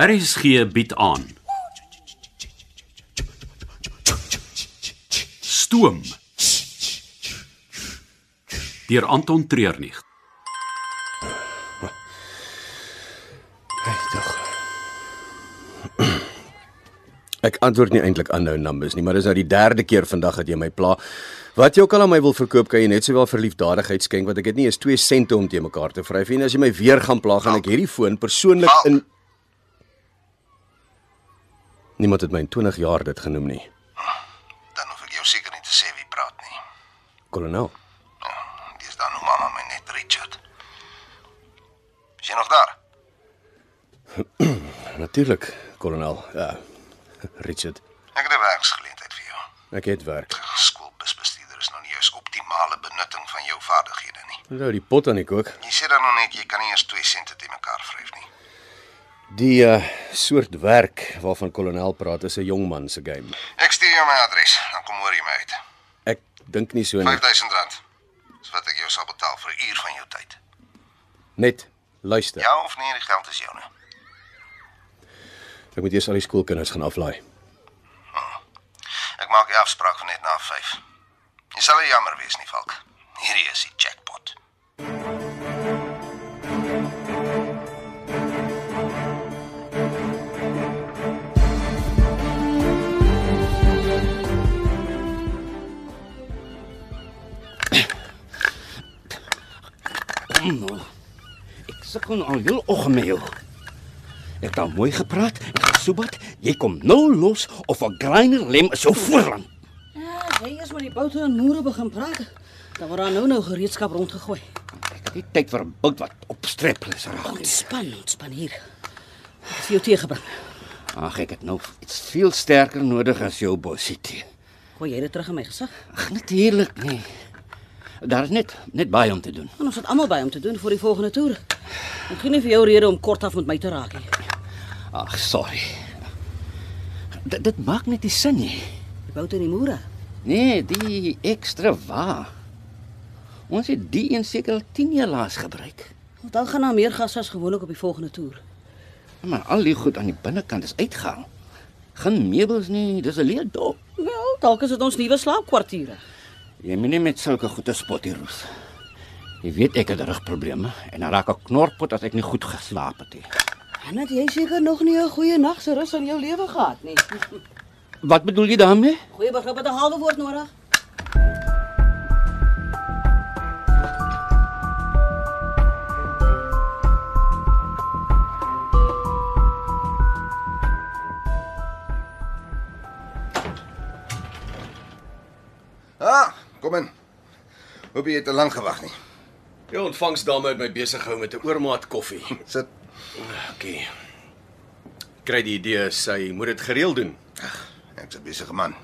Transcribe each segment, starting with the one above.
RSG bied aan. Stoom. Deur Anton Treurnig. Hey, tog. Ek antwoord nie eintlik aan nou numbers nie, maar dis nou die derde keer vandag dat jy my pla. Wat jy ook al aan my wil verkoop, kan jy net sowel vir liefdadigheid skenk want ek het nie eens 2 sente om te mekaar te vryf nie. En as jy my weer gaan pla, gaan ek hierdie foon persoonlik in Niemand het my in 20 jaar dit genoem nie. Dan hoef ek jou seker nie te sê wie praat nie. Kolonel. Dis dan hoe mamma my net Richard. Is jy nog daar? Natuurlik, kolonel. Ja. Richard, Ek het 'n werksgeleentheid vir jou. ek het werk. Skoolbusbestuurder is nog nie eens optimale benutting van jou vaardighede nie. Hou die pot aan die kook. Jy sê dan nog net jy kan nie eens 2 sente te mekaar vryf nie. Die uh, soort werk waarvan kolonel praat is 'n jong man se game. Ek stuur jou my adres, dan kom hoor jy my uit. Ek dink nie so nie. R5000 is wat ek jou sal betaal vir 'n uur van jou tyd. Net luister. Ja of nee, die geld is joune. Ek moet eers al die skoolkinders gaan aflaai. Ek maak die afspraak vir net na 5. Jy sal nie jammer wees nie, Valk. Hierdie is die jackpot. Nou, ek sukkel nou al heel oggend met jou. Ek het al mooi gepraat en gesoebat. Jy kom nou los of 'n grinder lem is jou voorland. Ja, as jy eers met die boute en moere begin praat, dan word daar nou nou gereedskap rondgegooi. Ek het nie tyd vir 'n bout wat opstrepel is raak nie. Ontspan, ontspan hier. Ek het vir jou tee gebring. Ag, ek het nou iets veel sterker nodig as jou bossie tee. Gooi jy dit terug in my gesig? Ag, natuurlik nie. Daar is net net baie om te doen. En ons het almal by om te doen vir die volgende toer. Ek gee nie vir jou rede om kortaf met my te raak nie. Ag, sorry. D dit maak net nie sin nie. Die boute en die moere. Nee, die ekstra wa. Ons het die een seker al 10 jaar laas gebruik. Want dan gaan daar meer gas as gewoonlik op die volgende toer. Maar al die goed aan die binnekant is uitgehaal. Geen meubels nie, dis 'n leë dorp. Wel, dalk is dit ons nuwe slaapkwartiere. Jy moenie met sulke goede spot hier roep. Jy weet ek het rugprobleme en dan raak ek knorpot as ek nie goed geslaap het nie. En dat jy seker nog nie 'n goeie nag se rus in jou lewe gehad nie. Wat bedoel jy daarmee? Goeie begrip het 'n halwe woord nodig. Ah, kom in. Hoop jy het te lank gewag nie. Die ontvangsdame het my besig gehou met 'n oormaat koffie. Sit. Okay. Kry die idee sy moet dit gereeld doen. Ek's 'n besige man.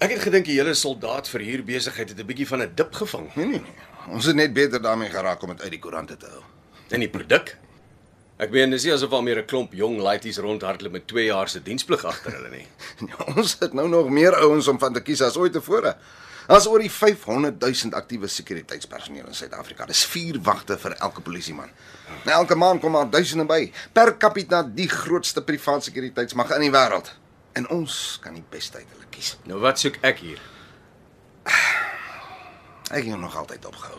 Ek het gedink die hele soldaat vir hier besigheid het 'n bietjie van 'n dip gevang Nee nee. nee. Ons het net beter daarmee geraak om dit uit die koerante te hou. in die produk. Ek meen, dis nie asof daar meer 'n klomp jong laities rondhardloop met 2 jaar se diensplig agter hulle nie. Ons het nou nog meer ouens om van te kies as ooit tevore. Daar's oor die 500 000 aktiewe sekuriteitspersoneel in Suid-Afrika. Dis 4 wagte vir elke polisieman. Nou elke maand kom daar duisende by. Per capita die grootste privaat sekuriteitsmag in die wêreld. En ons kan die beste uit hulle kies. Nou wat soek ek hier? Ek het jou nog altyd opgehou.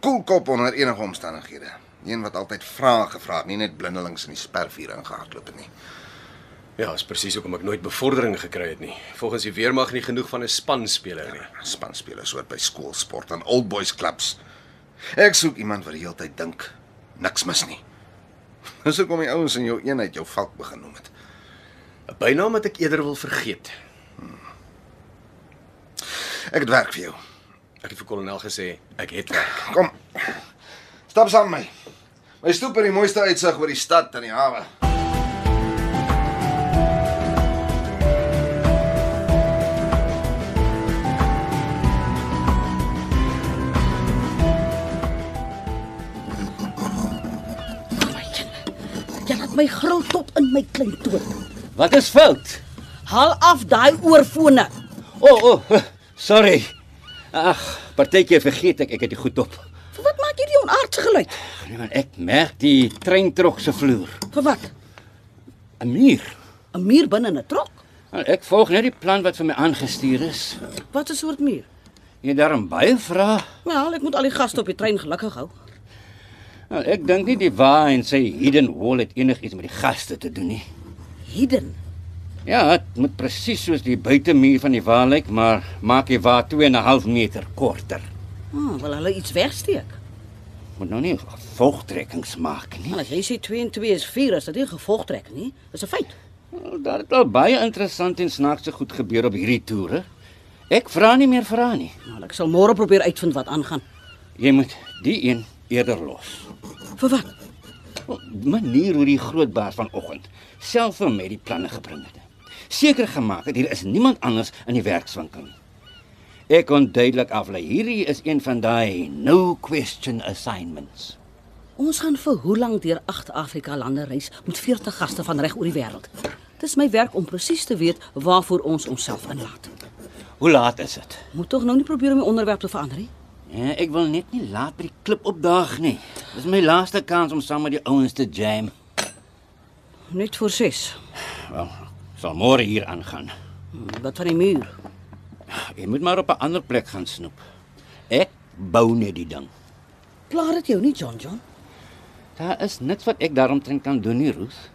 Koelkop onder enige omstandighede. Een wat altyd vrae gevra het, nie net blindelings in die spervuur ingehardloop het nie. Ja, is presies hoekom ek nooit bevordering gekry het nie. Volgens die weermag nie genoeg van 'n spanspeler nie. Spanspelers hoort by skoolsport en old boys clubs. Ek soek iemand wat die hele tyd dink, niks mis nie. Dis hoekom die ouens in jou eenheid jou valk begin noem het. 'n Bynaam wat ek eerder wil vergeet. Ek het werk vir jou. Ek het vir kolonel gesê ek het werk. Kom. Stap saam met my. My stoep het die mooiste uitsig oor die stad en die hawe. Jy laat my gril tot in my klein toer. Wat is fout? Haal af daai oorfone. O, oh, o, oh, sorry. Ag, partykeer vergeet ek ek het dit goed op. Vir wat maak jy die van aardse geluid. Nee, maar ek merk die treintrok se vloer. Vir wat? 'n Muur. 'n Muur binne 'n trok. Nou, ek volg net die plan wat vir my aangestuur is. Wat 'n soort muur? Jy het daarom baie vrae. Wel, ek moet al die gaste op die trein gelukkig hou. Nou, ek dink nie die wa en sy hidden wall het enigiets met die gaste te doen nie. Hidden. Ja, dit moet presies soos die buitemuur van die wa lyk, maar maak die wa 2 en 'n half meter korter. Hm, wil hulle iets wegsteek? Moet nou nie gevolgtrekkings maak nie. Nou, as jy sê 2 en 2 is 4, is dit nie 'n gevolgtrekking nie. Dis 'n feit. Wel, Daar het al baie interessant en snaakse goed gebeur op hierdie toere. Ek vra nie meer vra nie. Nou, ek sal môre probeer uitvind wat aangaan. Jy moet die een eerder los. Vir wat? Wel, die Manier hoe die groot baas vanoggend self vir my die planne gebring het. Seker gemaak het hier is niemand anders in die werkswinkel nie. Ek kon duidelik aflei hierdie is een van daai no question assignments. Ons gaan vir hoe lank deur agt Afrika lande reis met 40 gaste van reg oor die wêreld. Dis my werk om presies te weet waarvoor ons onsself inlaat. Hoe laat is dit? Moet tog nou nie probeer om die onderwerp te verander nie. Ja, ek wil net nie laat by die klip opdaag nie. Dis my laaste kans om saam met die ouens te jam. Net voor 6. Wel, ek sal môre hier aangaan. Hm, Wat van die muur? Jy moet maar op 'n ander plek gaan snoep. Ek bou net die ding. Plaat dit jou nie, John John? Daar is niks wat ek daaromtrent kan doen nie, Roos.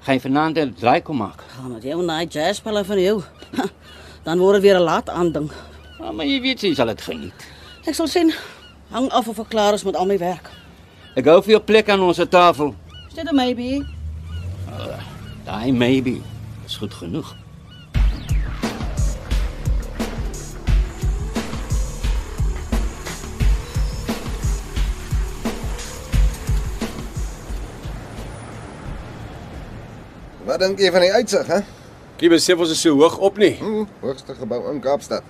Gaan jy vanaand 'n draai kom maak? Gaan met jou na die jazzpelle van jou. Ha, Dan word dit weer 'n laat aanding. Ja, Ah, maar jy weet jy sal dit geniet. Ek sal sien. Hang af of ek klaar is met al my werk. Ek hou vir jou plek aan ons tafel. Is dit 'n maybe? Daai maybe is goed genoeg. Wat dink jy van die uitsig, hè? Jy besef ons is so hoog op nie. Hm, hoogste gebou in Kaapstad.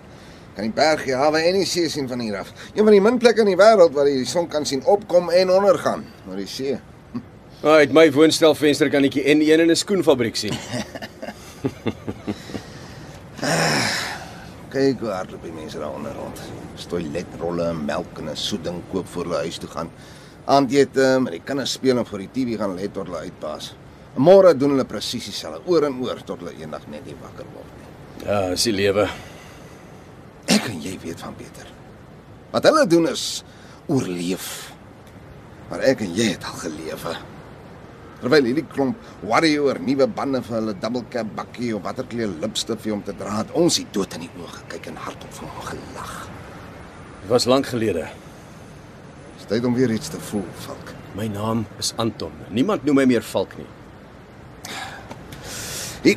Kan die berg, die hawe en die see sien van hier af. Een van die min plekke in die wêreld waar jy die son kan sien opkom en ondergaan, maar die see. Ah, uit my woonstelvenster kan ek die N1 in 'n skoenfabriek sien. Kyk hoe hardloop die mense daar onder rond. Toiletrolle, melk en 'n soeding koop voor hulle huis toe gaan. Aandete, maar die kinders speel en voor die TV gaan lê tot hulle uitpas. En Môre doen hulle presies dieselfde oor en oor tot hulle eendag net nie wakker word nie. Ja, dis die lewe. Ek en jy weet van beter. Wat hulle doen is oorleef. Maar ek en jy het al gelewe. Terwyl hierdie klomp warrior nuwe bande vir hulle double cap bakkie of watter kleur lipstifie om te dra het, ons die dood in die oë gekyk en hardop vir hom gelag. Dit was lank gelede. Dis tyd om weer iets te voel, Falk. My naam is Anton. Niemand noem my meer Valk nie. Hier.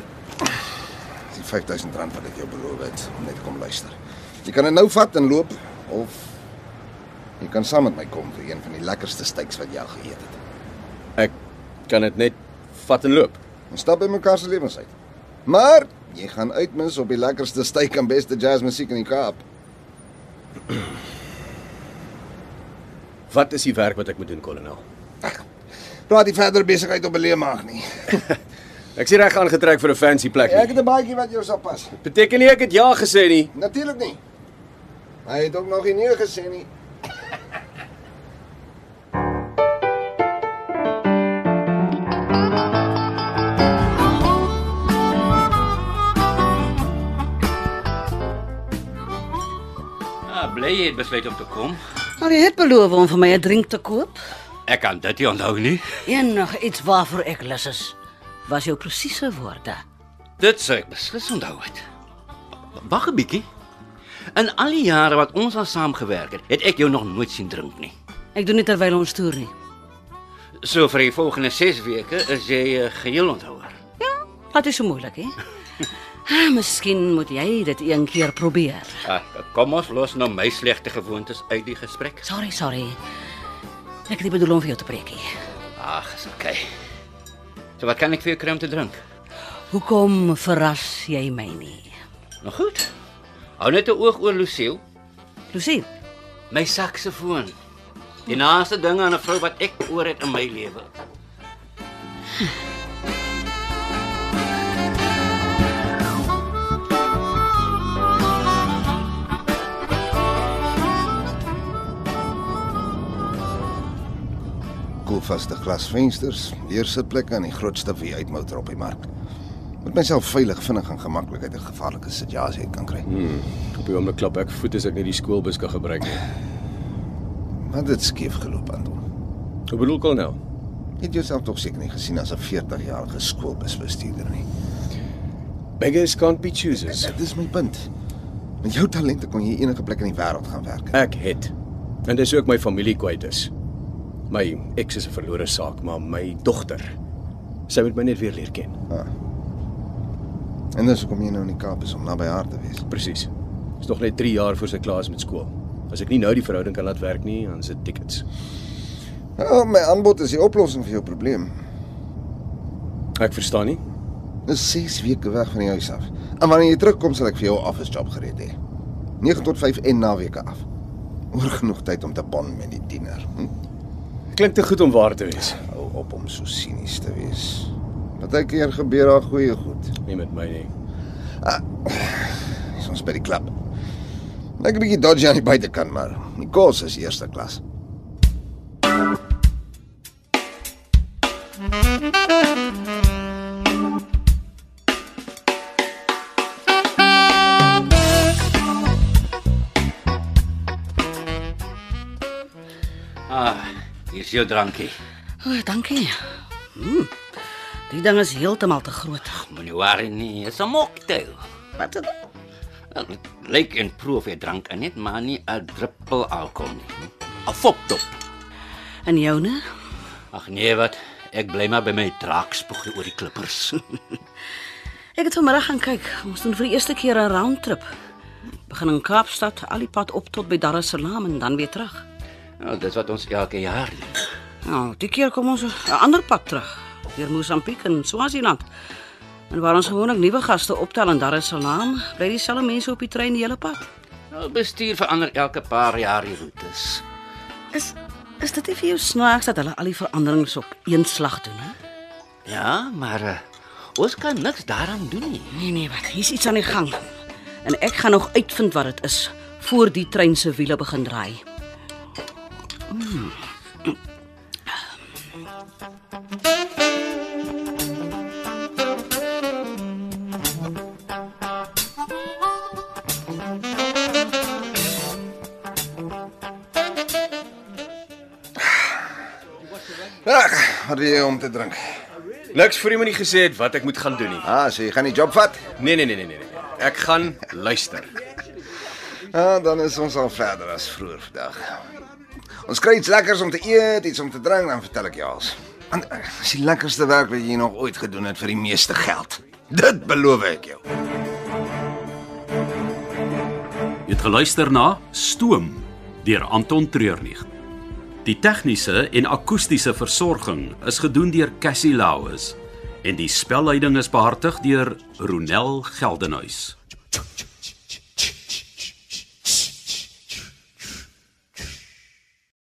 Dis die R5000 wat ek jou beloof het om net te kom luister. Jy kan dit nou vat en loop of jy kan saam met my kom vir een van die lekkerste steaks wat jy al geëet het. Ek kan dit net vat en loop. Ons stap by mekaar se lewens uit. Maar jy gaan uitmis op die lekkerste steak en beste jazzmusiek in die Kaap. Wat is die werk wat ek moet doen, kolonel? Praat nie verder besigheid op 'n leë maag nie. Ek sien reg aangetrek vir 'n fancy plek. Ja, Ek Nie. het 'n baadjie wat jou sal pas. Beteken nie ek het ja gesê nie. Natuurlik nie. Hy het ook nog nie nee gesê nie. Ah, bly jy het besluit om te kom. Nou, jy het beloof om vir my 'n drink te koop. Ek kan dit nie onthou nie. Enig iets waarvoor ek lus is. Was jou presiese woorde. Dit sou ek beslis onthou het. Wag 'n bietjie. In al die jare wat ons al saam gewerk het, het ek jou nog nooit sien drink nie. Ek doen dit terwyl ons toer nie. So vir die volgende 6 weke is jy uh, geheel onthouer. Ja, dit is so moeilik, hè? Ah, miskien moet jy dit een keer probeer. Ah, kom ons los nou my slegte gewoontes uit die gesprek. Sorry, sorry. Ek het nie bedoel om vir jou te preek nie. Ag, is oké. Okay. So wat kan ek vir jou kry om te drink? Hoekom verras jy my nie? Nou goed. Hou net 'n oog oor Lucille, Lucille, my saksofoon. Die naaste ding aan 'n vrou wat ek oor het in my lewe. koelvaste glasvensters, heersitplekke en die grootste V8-motor op die mark. Moet myself veilig, vinnig en gemaklik uit 'n gevaarlike situasie uit kan kry. Op die oomblik klap ek voet as ek net die skoolbus kan gebruik nie. Maar dit skeef geloop Anton. Hoe bedoel kolonel? Het jy jouself tog seker nie gesien as 'n 40-jarige skoolbusbestuurder nie. Beggars can't be choosers. Dit is my punt. Met jou talente kon jy enige plek in die wêreld gaan werk. Ek het. En dis ook my familie kwyt is. My ex is 'n verlore saak, maar my dogter. Sy moet my net weer leer ken. Ah. En dis hoekom jy nou in die Kaap is om naby haar te wees. Presies. Is nog net 3 jaar voor sy klaar is met skool. As ek nie nou die verhouding kan laat werk nie, dan sit tickets. Ja, my aanbod is die oplossing vir jou probleem. Ek verstaan nie. Dis 6 weke weg van die huis af. En wanneer jy terugkom sal ek vir jou 'n office job gereed hê. 9 tot 5 en naweke af. Oor genoeg tyd om te bond met die tiener. Hm? Klink te goed om waar te wees. Hou op om so sinies te wees. Partykeer gebeur daar goeie goed. Nie met my nie. Dis ons by die klub. Lyk 'n bietjie dodgy aan die buitekant, maar die kos is eerste klas. Ah, hier's jou drankie. O, oh, dankie. Hm. Die ding is heeltemal te groot. Moenie worry nie, is 'n mocktail. Wat is dit? Wel, Lyk en proef jy drank in net maar nie 'n druppel alkohol nie. 'n Foptop. En joune? Ag nee wat, ek bly maar by my draakspoeg oor die klippers. Ek het vanmiddag gaan kyk. Ons doen vir die eerste keer 'n roundtrip. Begin in Kaapstad, al die pad op tot by Dar es Salaam en dan weer terug. nou, dis wat ons elke jaar doen. Nou, die keer kom ons 'n ander pad terug, deur Mosambiek en Swaziland. En waar ons gewoonlik nuwe gaste optel in Dar es Salaam, bly dieselfde mense op die trein die hele pad. Nou bestuur verander elke paar jaar die roetes. Is is dit nie vir jou snaaks dat hulle al die veranderings op een slag doen, hè? Ja, maar uh, ons kan niks daaraan doen nie. Nee nee, wat? Hier's iets aan die gang. En ek gaan nog uitvind wat dit is voor die trein se wiele begin draai. Ag, wat wil jy om te drink? Niks vir iemand nie gesê het wat ek moet gaan doen nie. Ah, so jy gaan die job vat? Nee nee nee nee nee. nee. Ek gaan luister. Ah, dan is ons al verder as vroeër vandag. Ons kry iets lekkers om te eet, iets om te drink, dan vertel ek jou als. En eh, dis die lekkerste werk wat jy nog ooit gedoen het vir die meeste geld. Dit beloof ek jou. Jy het geluister na Stoom deur Anton Treurnig. Die tegniese en akoestiese versorging is gedoen deur Cassie Lauis en die spelleiding is behartig deur Ronel Geldenhuys.